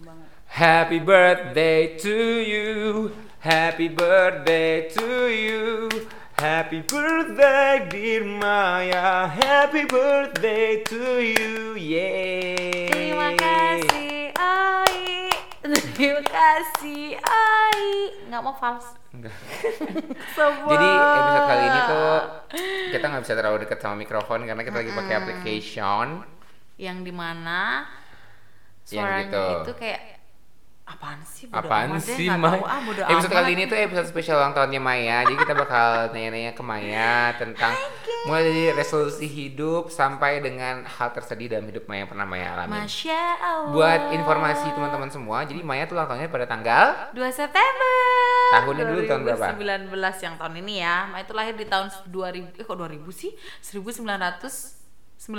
banget. Happy birthday to you. Happy birthday to you. Happy birthday dear Maya. Happy birthday to you. Yeay. Terima kasih Ai. Terima kasih Ai. Nggak mau fals. Enggak. Sebab. Jadi episode kali ini tuh kita nggak bisa terlalu dekat sama mikrofon karena kita lagi pakai application. yang dimana Yang suaranya gitu. itu kayak apaan sih? bodo Apaan amat deh, sih nggak Maya? tahu, ah, bodo episode amat. kali ini tuh eh, episode spesial ulang tahunnya Maya. Jadi kita bakal nanya-nanya ke Maya tentang mulai dari resolusi hidup sampai dengan hal tersedih dalam hidup Maya yang pernah Maya alami. Masya Allah. Buat informasi teman-teman semua, jadi Maya tuh ulang tahunnya pada tanggal 2 September. Tahunnya dulu tahun berapa? 2019 yang tahun ini ya. Ma itu lahir di tahun 2000. Eh kok 2000 sih? 1995 kok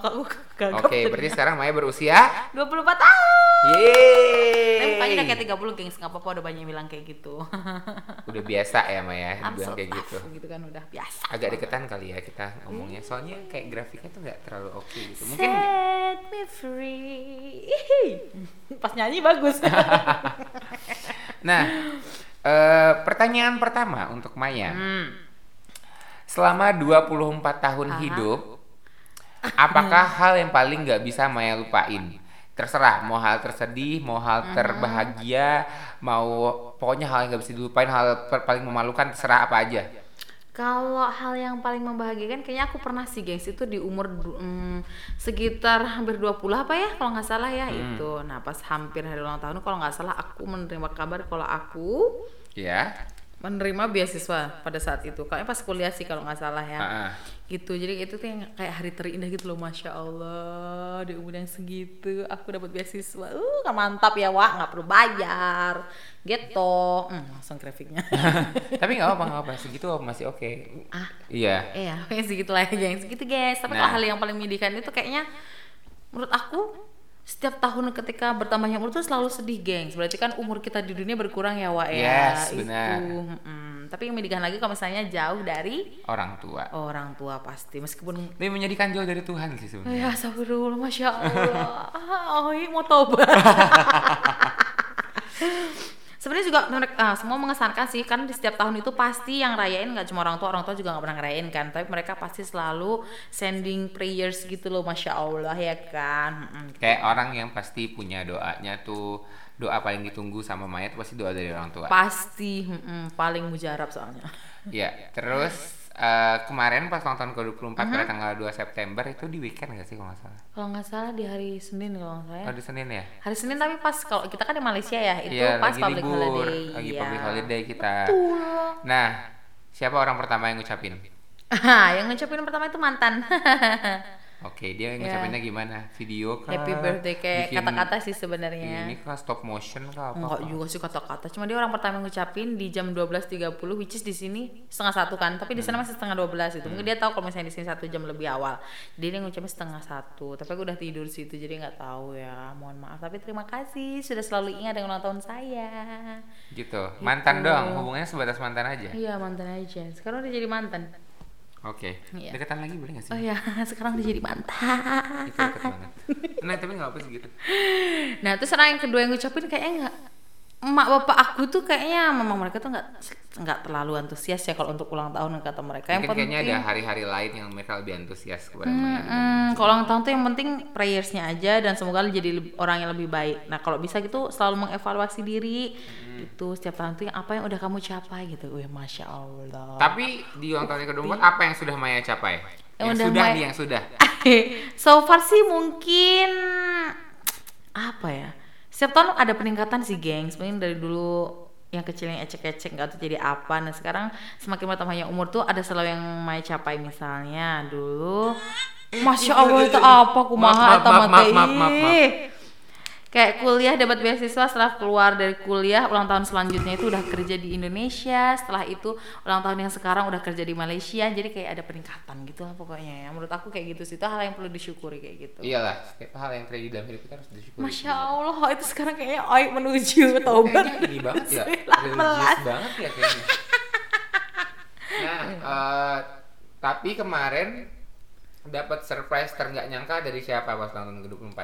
aku ya? gagap. Oke, berarti sekarang Maya berusia 24 tahun. Iya. Tapi mukanya udah Yeay. kayak 30 gengs, nggak apa-apa udah banyak yang bilang kayak gitu. Udah biasa ya Maya I'm bilang so kayak gitu. tough, gitu kan udah biasa. Agak deketan kali ya kita ngomongnya. Soalnya kayak grafiknya tuh nggak terlalu oke gitu. Mungkin Set me free. Ihi. Pas nyanyi bagus. Nah, eh, pertanyaan pertama untuk Maya. Hmm. Selama 24 tahun Aha. hidup, apakah hal yang paling nggak bisa Maya lupain? Terserah, mau hal tersedih, mau Hmm. hal terbahagia, mau pokoknya hal yang nggak bisa dilupain, hal per- paling memalukan, terserah apa aja. Kalau hal yang paling membahagiakan kayaknya aku pernah sih gengs itu di umur du- mm, sekitar hampir 20 apa ya kalau nggak salah ya itu. Nah pas hampir hari ulang tahun kalau nggak salah aku menerima kabar kalau aku Ya. menerima beasiswa pada saat itu. Kayaknya pas kuliah sih kalau nggak salah ya. Ah, ah. Gitu jadi itu tuh yang kayak hari terindah gitu loh masya Allah di umur yang segitu aku dapat beasiswa. Uh nggak mantap ya wah nggak perlu bayar. Gitu. Hmm, langsung grafiknya. Tapi nggak apa nggak apa segitu masih oke. Ah. Iya. Iya, pokoknya segitu lah ya gengs Gitu guys, tapi Nah. kalau hal yang paling menyedihkan itu kayaknya Menurut aku setiap tahun ketika bertambahnya umur tuh selalu sedih gengs Berarti kan umur kita di dunia berkurang ya Wak ya Yes, Itu, benar. mm-mm. Tapi yang menyedihkan lagi kalau misalnya jauh dari Orang tua. orang tua pasti Meskipun Tapi menyedihkan jauh dari Tuhan sih sebenarnya. Ya astagfirullah, Masya Allah Ah, Oh iya mau tobat Sebenarnya juga mereka ah, semua mengesankan sih kan di setiap tahun itu pasti yang rayain nggak cuma orang tua orang tua juga nggak pernah ngerayain kan tapi mereka pasti selalu sending prayers gitu loh masya allah ya kan Mm-mm. Kayak orang yang pasti punya doanya tuh doa paling ditunggu sama Maya tuh pasti doa dari orang tua. pasti mm-mm, paling mujarab soalnya Iya. Terus eh, kemarin pas nonton ke 24 Mm-hmm. pada tanggal 2 September itu di weekend gak sih kalau nggak salah? kalau nggak salah di hari senin kalau nggak salah Oh ya. di Senin ya? hari senin tapi pas kalau kita kan di Malaysia ya itu Iya pas lagi public libur, holiday lagi iya. public holiday kita. Betul. Nah siapa orang pertama yang ngucapin? Ah, yang ngucapin pertama itu mantan. Oke dia ngucapinnya gimana? Video kah? Ya. Happy birthday kayak Bikin kata-kata sih sebenarnya. Ini kah stop motion kah apa? Enggak juga sih kata-kata, cuma dia orang pertama yang ngucapin di jam 12.30 which is di sini setengah satu kan, tapi di sana Hmm. masih setengah 12 itu. Mungkin dia tahu kalau misalnya di sini satu jam lebih awal. Jadi dia ngucapin setengah satu, tapi aku udah tidur sih itu jadi nggak tahu ya. Mohon maaf, tapi terima kasih sudah selalu ingat dengan ulang tahun saya. Gitu. Mantan doang. Hubungannya sebatas mantan aja. Iya mantan aja, sekarang udah jadi mantan. Oke. Iya. Deketan lagi boleh gak sih? Oh ya, sekarang udah jadi mantan. Itu deket ah, banget. Gitu, Nah tapi gak apa segitu. Nah terus orang yang kedua yang ngucapin kayaknya nggak emak bapak aku tuh kayaknya memang mereka tuh nggak nggak terlalu antusias ya kalau untuk ulang tahun kata mereka yang Mungkin kayaknya penting ada hari-hari lain yang mereka lebih antusias kepada Maya. hmm, kalau ulang tahun tuh yang penting prayersnya aja dan semoga lu jadi leb- orang yang lebih baik nah kalau bisa gitu selalu mengevaluasi diri gitu setiap tahun tuh yang apa yang udah kamu capai gitu wih masya allah Tapi di ulang tahun yang ke-24 apa yang sudah Maya capai? Oh. Yang Yang, udah sudah Maya- nih yang sudah. so far sih mungkin apa ya setiap tahun ada peningkatan sih gengs mungkin dari dulu yang kecil yang ecek-ecek nggak tuh jadi apa nah sekarang semakin bertambahnya umur tuh ada selalu yang Maya capai misalnya dulu masya allah itu apa Maaf, maaf, kumaha eta maaf, mah maaf, teh. maaf, maaf. Ih. Kayak kuliah dapat beasiswa setelah keluar dari kuliah ulang tahun selanjutnya itu udah kerja di Indonesia setelah itu ulang tahun yang sekarang udah kerja di Malaysia jadi kayak ada peningkatan gitu lah pokoknya ya menurut aku kayak gitu sih itu hal yang perlu disyukuri kayak gitu Iyalah, setiap hal yang terjadi dalam hidup kita harus disyukuri. Masya Allah itu sekarang kayaknya Oi menuju Kayaknya taubat ini banget ya, 19. religius banget ya kayaknya. Nah, eh, tapi kemarin dapat surprise ter nggak nyangka dari siapa pas ulang tahun ke-24?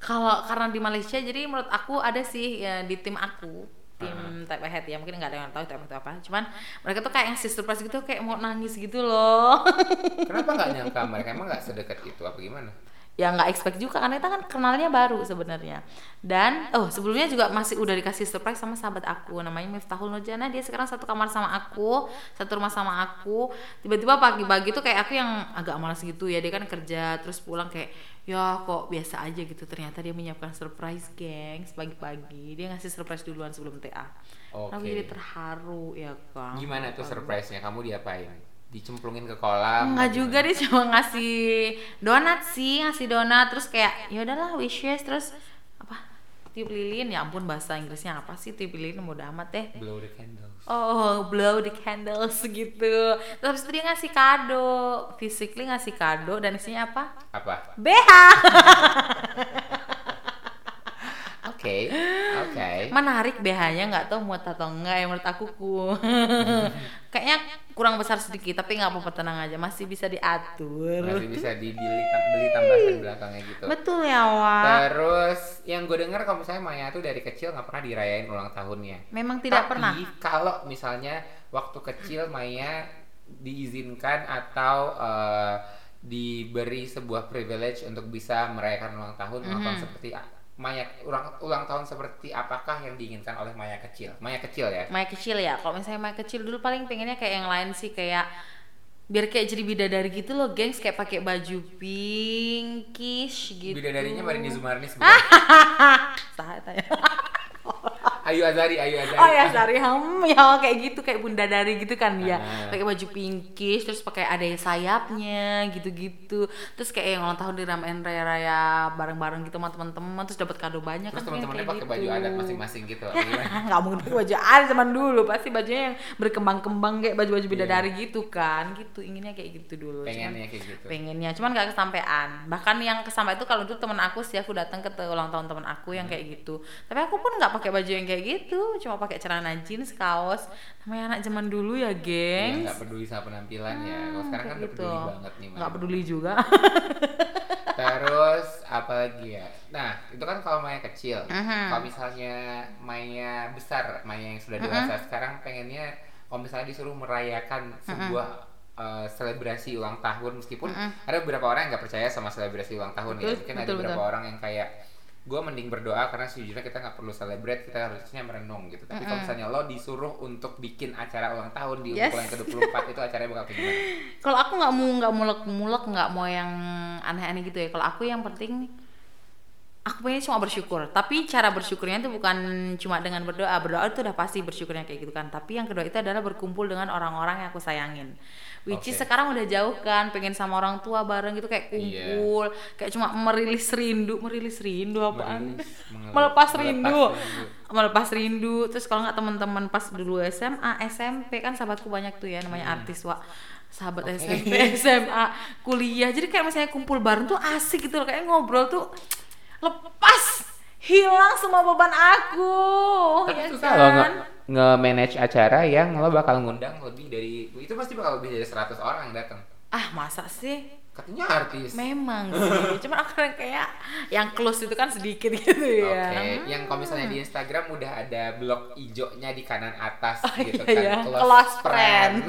Kalau karena di Malaysia jadi menurut aku ada sih ya, di tim aku tim type ahead ya mungkin nggak ada yang tahu type ahead itu apa cuman mereka tuh kayak ngasih surprise gitu kayak mau nangis gitu loh Kenapa nggak nyangka mereka emang nggak sedekat itu apa gimana? ya nggak expect juga karena kita kan kenalnya baru sebenarnya dan oh sebelumnya juga masih udah dikasih surprise sama sahabat aku namanya Miftahul Nurjana dia sekarang satu kamar sama aku satu rumah sama aku tiba-tiba pagi-pagi tuh kayak aku yang agak malas gitu ya dia kan kerja terus pulang kayak ya kok biasa aja gitu ternyata dia menyiapkan surprise gengs pagi-pagi dia ngasih surprise duluan sebelum TA Oke. aku jadi terharu ya kan Gimana tuh surprise-nya? Kamu diapain? Dicemplungin ke kolam? apa Enggak juga dia cuma ngasih donat sih, ngasih donat terus kayak ya udahlah wishes terus apa tiup lilin ya ampun bahasa Inggrisnya apa sih tiup lilin mudah amat deh. gimana? Blow the candles. Oh, blow the candles gitu. Terus habis itu dia ngasih kado, physically ngasih kado dan isinya apa? Apa? BH. Oke, oke. Menarik BH-nya nggak tahu muat atau enggak ya menurut aku ku. Kayaknya kurang besar sedikit tapi nggak apa-apa tenang aja masih bisa diatur. Masih bisa dibeli beli tambahan belakangnya gitu. Betul ya, Wak. Terus yang gue dengar kalau misalnya Maya tuh dari kecil nggak pernah dirayain ulang tahunnya. Memang tidak Tapi, pernah. kalau misalnya waktu kecil Maya diizinkan atau eh, diberi sebuah privilege untuk bisa merayakan ulang tahun ulang tahun Mhm. seperti a- Maya ulang ulang tahun seperti apakah yang diinginkan oleh Maya kecil? Maya kecil ya. Maya kecil ya. Kalau misalnya Maya kecil dulu paling pengennya kayak yang lain sih kayak biar kayak jadi bidadari gitu loh, gengs kayak pakai baju pinkish gitu. Bidadarinya Marini Zumarnis bukan? Sahat ya. Ayu Azari, Ayu Azari. Oh ya sorry, hmm, ya kayak gitu kayak bunda dari gitu kan ya. Ah. Pakai baju pinkish terus pakai ada sayapnya gitu-gitu. Terus kayak yang ulang tahun diramein raya-raya bareng-bareng gitu sama teman-teman terus dapat kado banyak Terus kan pengen teman-temannya kayak pakai baju gitu. adat masing-masing gitu. apa gimana? nggak mungkin pakai baju ada zaman dulu pasti bajunya yang berkembang-kembang kayak baju-baju bidadari gitu kan gitu inginnya kayak gitu dulu Iya. Pengennya cuman, kayak gitu. pengennya cuman nggak kesampaian bahkan yang kesampai itu kalau dulu temen aku sih aku datang ke te- ulang tahun temen aku Hmm. yang kayak gitu tapi aku pun nggak pakai baju yang kayak gitu cuma pakai celana jeans kaos namanya anak zaman dulu ya Iya, geng nggak peduli sama penampilan ya. Kalau sekarang kan kayak gitu. udah peduli banget nih. Maya. nggak peduli juga Terus apa lagi ya? Nah itu kan kalau Maya kecil. Mhm. Kalau misalnya Maya besar, Maya yang sudah dewasa sekarang pengennya kalau misalnya disuruh merayakan sebuah eh, selebrasi ulang tahun meskipun ada beberapa orang yang nggak percaya sama selebrasi ulang tahun ya Betul, mungkin ada betul, beberapa betul. orang yang kayak gue mending berdoa karena sejujurnya kita nggak perlu celebrate kita harusnya merenung gitu tapi kalau misalnya lo disuruh untuk bikin acara ulang tahun di Yes. ukuran ke 24 itu acaranya bakal kayak gimana? kalau aku nggak mau nggak mulek-mulek nggak mau yang aneh-aneh gitu ya kalau aku yang penting aku pengen cuma bersyukur tapi cara bersyukurnya itu bukan cuma dengan berdoa berdoa itu udah pasti bersyukurnya kayak gitu kan tapi yang kedua itu adalah berkumpul dengan orang-orang yang aku sayangin which is Oke. sekarang udah jauh kan pengen sama orang tua bareng gitu Iya. kayak kumpul kayak cuma merilis rindu merilis rindu apaan Merilis, mengeluh, melepas melepas rindu rindu. melepas rindu terus kalau nggak teman-teman pas dulu SMA SMP kan sahabatku banyak tuh ya namanya artis wa sahabat Hmm. Oke. SMP SMA kuliah jadi kayak misalnya kumpul bareng tuh asik gitu loh kayak ngobrol tuh lepas hilang semua beban aku Tapi ya susah kan? lo nge- nge-manage acara yang lo bakal ngundang lebih dari itu pasti bakal lebih dari 100 orang yang datang. ah masa sih Katanya artis. memang sih cuman aku yang kayak yang close itu kan sedikit gitu Oke, ya yang kalau misalnya di Instagram udah ada blok ijonya di kanan atas gitu kan, iya, iya. close, Close friend.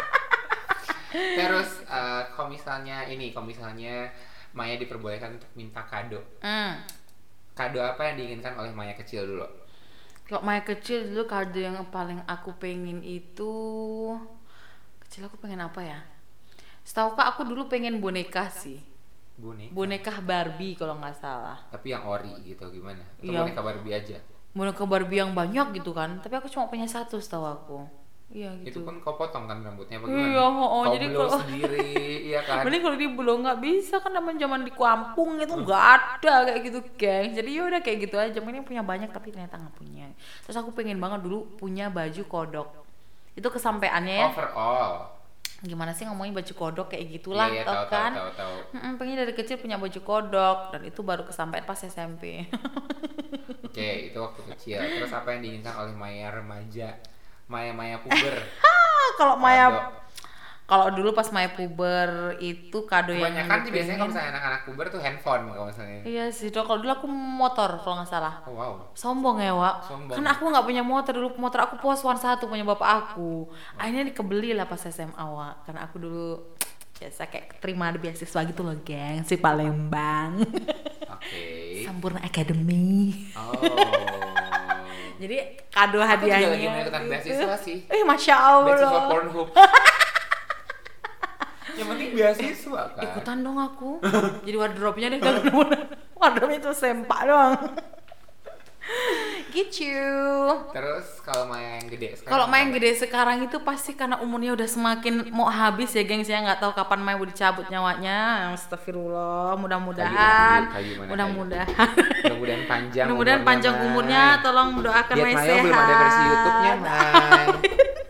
Terus eh, kalau misalnya ini, kalau misalnya Maya diperbolehkan untuk minta kado. Hmm. Kado apa yang diinginkan oleh Maya kecil dulu? Kalau Maya kecil dulu kado yang paling aku pengen itu kecil aku pengen apa ya? Setahu kak aku dulu pengen boneka sih, Boneka. boneka Barbie kalau nggak salah. Tapi yang ori gitu gimana? Atau Iya. boneka Barbie aja? Boneka Barbie yang banyak gitu kan, tapi aku cuma punya satu setahu aku. Iya Itu gitu. pun kau potong kan rambutnya apa Iya, gimana? oh, oh, Kau jadi blow kalau- sendiri, iya kan? Mending kalau di belum nggak bisa kan namanya zaman di kampung itu nggak ada kayak gitu geng. Jadi yaudah kayak gitu aja. Mending punya banyak tapi ternyata nggak punya. Terus aku pengen banget dulu punya baju kodok. Itu kesampaiannya Oh, ya. Overall. gimana sih ngomongin baju kodok kayak gitulah Iya, iya, tahu, tau tahu, kan tahu, tahu. Mm-mm, pengen dari kecil punya baju kodok dan itu baru kesampaian pas SMP Oke, itu waktu kecil. Terus apa yang diinginkan oleh Maya remaja? Maya-maya puber. Ah, kalau Maya Kodok. Kalau dulu pas my puber itu kado yang Kebanyakan sih biasanya kalau dipingin- misalnya anak-anak puber tuh handphone kalau misalnya. Iya sih, dok. Kalau dulu aku motor kalau nggak salah. Oh, wow. Sombong ya, Wak. Sombong. Karena aku nggak punya motor dulu, motor aku poswan satu punya bapak aku. Akhirnya dikebeli lah pas SMA, Wak. Karena aku dulu biasa kayak terima ada beasiswa gitu loh, geng. Si Palembang. Oke. Sampurna Academy. Oh. Jadi kado Aku juga lagi mau hadiahnya. ikutan gitu. beasiswa sih. Eh, Masya Allah. Beasiswa Pornhub. Yang penting beasiswa kan. Ikutan dong aku. Jadi wardrobe-nya deh kalau nemuin. Wardrobe itu sempak doang. gitu. Terus kalau Maya yang gede sekarang. Kalau main apa? gede sekarang itu pasti karena umurnya udah semakin mau habis ya gengs ya nggak tahu kapan main udah dicabut nyawanya. Astagfirullah, Kayu, kayu, mudah-mudahan, kayu, mana mudah-mudahan, Mudah-mudahan panjang. mudah-mudahan panjang umurnya. Tolong doakan Diet Mai Maya sehat. belum ada versi YouTube-nya, Mai.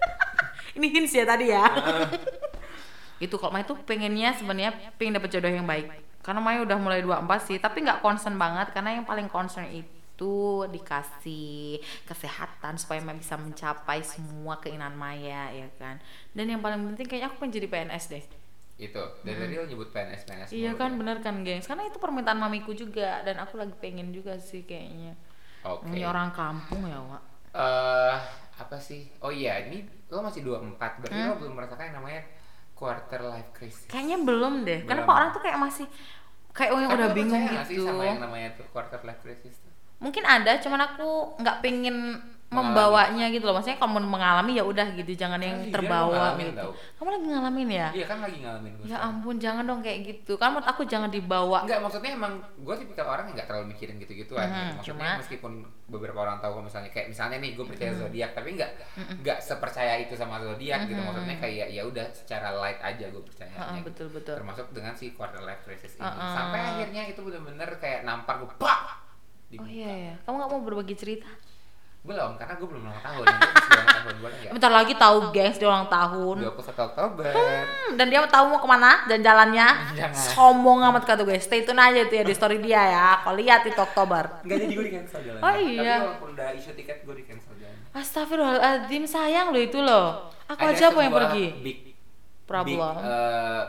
Ini hints ya tadi ya. itu kalau Mai tuh pengennya sebenarnya pengen dapet jodoh yang baik. Karena Mai udah mulai 24 sih, tapi nggak concern banget karena yang paling concern itu dikasih kesehatan supaya Mai bisa mencapai semua keinginan Maya ya kan. Dan yang paling penting kayaknya aku pengen jadi PNS deh. Itu. Dari tadi lo nyebut PNS PNS. Hmm. Iya mulu. ya? kan bener kan gengs, karena itu permintaan mamiku juga dan aku lagi pengen juga sih kayaknya. Oke. Ini orang kampung ya Wak. eh apa sih? Oh iya, ini lo masih 24 berarti Hmm? lo belum merasakan yang namanya quarter life crisis. Kayaknya belum deh. Kenapa Belum. orang tuh kayak masih kayak orang yang Tapi udah lo bingung percaya nggak sih gitu. sama yang namanya tuh quarter life crisis tuh? Mungkin ada, cuman aku nggak pengen membawanya gitu loh. Maksudnya kalau mau mengalami ya udah gitu, jangan yang Iya, terbawa ngalamin gitu. tau. Kamu lagi ngalamin ya? Iya kan lagi ngalamin gue. Ya ampun, jangan dong kayak gitu. Kan menurut aku jangan dibawa. Enggak, maksudnya emang gue tipikal orang yang nggak terlalu mikirin gitu-gituan. Mhm, maksudnya cuma- Mm-hmm. meskipun beberapa orang tahu kalau misalnya kayak misalnya nih gue percaya zodiak tapi nggak nggak sepercaya itu sama zodiak gitu. Maksudnya kayak ya udah secara light aja gue percaya. Heeh, betul betul. Termasuk dengan si quarter life crisis ini. Heeh. Sampai akhirnya itu bener-bener kayak nampar gue, pak. Oh iya ya. Kamu nggak mau berbagi cerita? Belum, karena gue belum ulang tahun. Gue masih ulang tahun, ya. boleh nggak? Bentar lagi tahu gengs dia ulang tahun. 21 Oktober. Hmm, dan dia tahu mau kemana dan jalannya Jangan. sombong amat kata gue stay tune aja itu ya di story dia ya kalau lihat itu Oktober Nggak jadi gue di cancel jalan. Oh, iya. Tapi walaupun udah isu tiket gue di cancel jalan. Astagfirullahaladzim sayang lo itu loh aku Ada aja kok yang sebuah pergi Big, Problem. big, eh,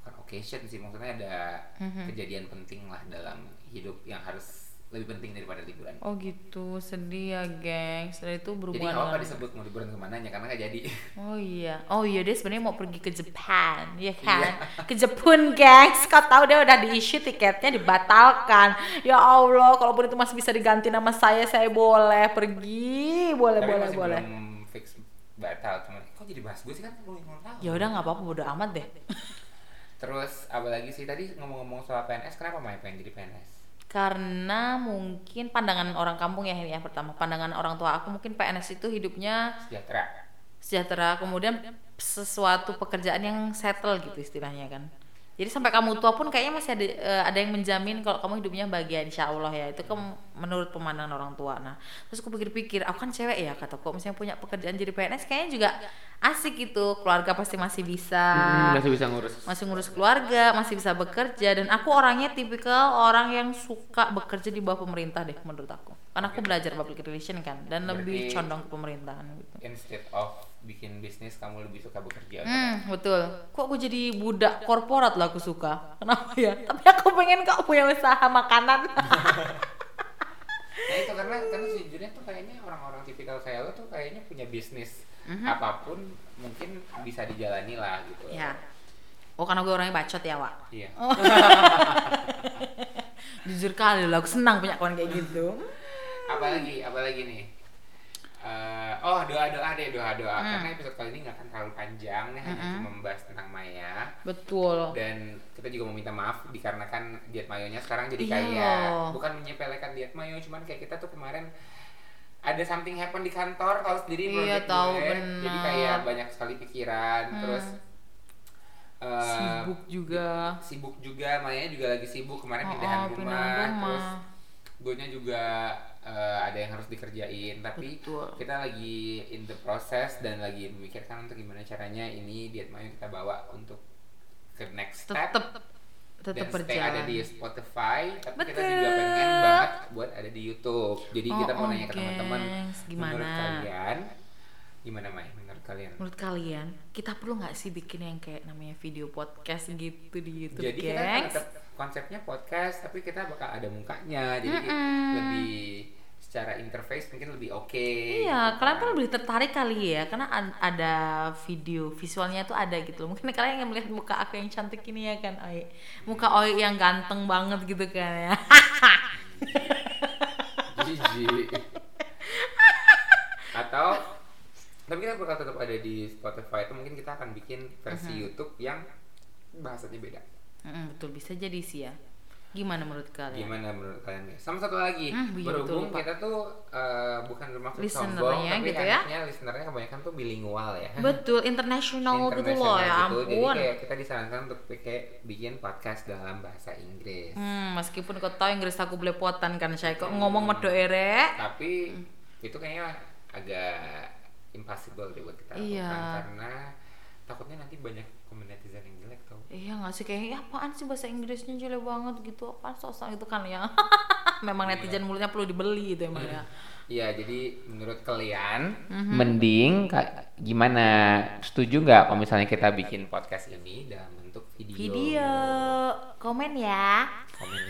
bukan occasion sih, maksudnya ada Mhm. kejadian penting lah dalam hidup yang harus lebih penting daripada liburan. oh gitu sedih ya gengs dan Jadi itu berhubungan nggak apa dengan- disebut mau liburan kemananya karena nggak jadi. oh iya oh iya dia sebenarnya mau pergi ke Jepang Iya. ya kan ke Jepun gengs kau tahu dia udah di issue tiketnya dibatalkan ya Allah kalaupun itu masih bisa diganti nama saya saya boleh pergi boleh Tapi boleh masih boleh belum fix batal cuman kok jadi bahas gue sih kan belum ulang tahun. ya udah nggak apa-apa bodo amat deh Terus apa lagi sih tadi ngomong-ngomong soal PNS, kenapa Maya pengen jadi PNS? karena mungkin pandangan orang kampung ya ini yang pertama pandangan orang tua aku mungkin PNS itu hidupnya Sejahtera. sejahtera kemudian sesuatu pekerjaan yang settle gitu istilahnya kan jadi sampai kamu tua pun kayaknya masih ada eh, ada yang menjamin kalau kamu hidupnya bahagia insya Allah ya itu kan menurut pemandangan orang tua nah terus aku pikir-pikir aku kan cewek ya kata kok misalnya punya pekerjaan jadi PNS kayaknya juga asik gitu keluarga pasti masih bisa Hmm, bisa ngurus. masih ngurus keluarga, masih bisa bekerja dan aku orangnya tipikal orang yang suka bekerja di bawah pemerintah deh menurut aku. Karena aku belajar public relation kan dan lebih Berarti- condong ke pemerintahan gitu. Instead of bikin bisnis, kamu lebih suka bekerja. Hmm, betul. Kok aku jadi budak korporat lah aku suka. Kenapa ya? Tapi aku pengen kok punya usaha makanan. Nah itu karena karena sejujurnya tuh kayaknya orang-orang tipikal kayak lo tuh kayaknya punya bisnis apapun mungkin bisa dijalani lah gitu. ya. Oh, karena gue orangnya bacot ya, Wak. Iya. Jujur kali loh, aku senang punya kawan kayak gitu. Apalagi apalagi nih. Eh, oh doa doa deh doa doa karena episode kali ini nggak akan terlalu panjang nih hanya cuma membahas tentang Maya Betul. dan kita juga mau minta maaf dikarenakan diet mayonya sekarang jadi Iya kayak loh. bukan menyepelekan diet mayo cuman kayak kita tuh kemarin ada something happen di kantor kalau sendiri Iya, project tahu, gue. jadi benar. Hmm. kayak banyak sekali pikiran terus eh, Sibuk juga. sibuk juga Maya juga lagi sibuk kemarin Oh, pindahan oh, rumah, pindahan rumah. terus gue juga eh, ada yang harus dikerjain tapi Betul. kita lagi in the process dan lagi memikirkan untuk gimana caranya ini diet mayo kita bawa untuk ke next step Tetep tetep dan stay ada berjalan. di Spotify tapi kita Betul. juga pengen banget buat ada di YouTube jadi Oh, kita mau oh, nanya ke teman-teman gengs. Gimana? menurut kalian Gimana Mai menurut kalian? Menurut kalian, kita perlu nggak sih bikin yang kayak namanya video podcast gitu di YouTube, Jadi kita gengs? tetap konsepnya podcast tapi kita bakal ada mukanya. Jadi Mm-mm. lebih secara interface mungkin lebih oke. Iya, gitu kalian kan. tuh lebih tertarik kali ya, karena an- ada video visualnya tuh ada gitu. loh. Mungkin kalian yang melihat muka aku yang cantik ini ya kan, Oi. Muka Oi yang ganteng banget gitu kan ya. Jijik. Atau tapi kita bakal tetap ada di Spotify itu mungkin kita akan bikin versi YouTube yang bahasanya beda. Mm, betul bisa jadi sih ya. Gimana menurut kalian? Gimana menurut kalian guys? Sama satu lagi, Hmm, iya, berhubung betul, Pak. kita tuh eh, bukan bermaksud Listenernya sombong, tapi gitu ya. anaknya listenernya kebanyakan tuh bilingual ya. Betul, international gitu International loh ya gitu. ampun. Jadi kayak kita disarankan untuk pakai bikin podcast dalam bahasa Inggris. Hmm, meskipun kau tahu Inggris aku belepotan kan saya kok ngomong medo ere. Tapi Hmm. itu kayaknya agak impossible deh buat kita lakukan Iya. karena takutnya nanti banyak komen netizen yang jelek tau. Iya nggak sih kayak "Ih, apaan sih bahasa Inggrisnya jelek banget gitu apaan sosok itu kan ya. Memang Iya. netizen mulutnya perlu dibeli itu emang ya. Iya, jadi menurut kalian mending ka- gimana? Setuju nggak kalau misalnya kita bikin podcast ini dalam bentuk video? Video komen ya. Komen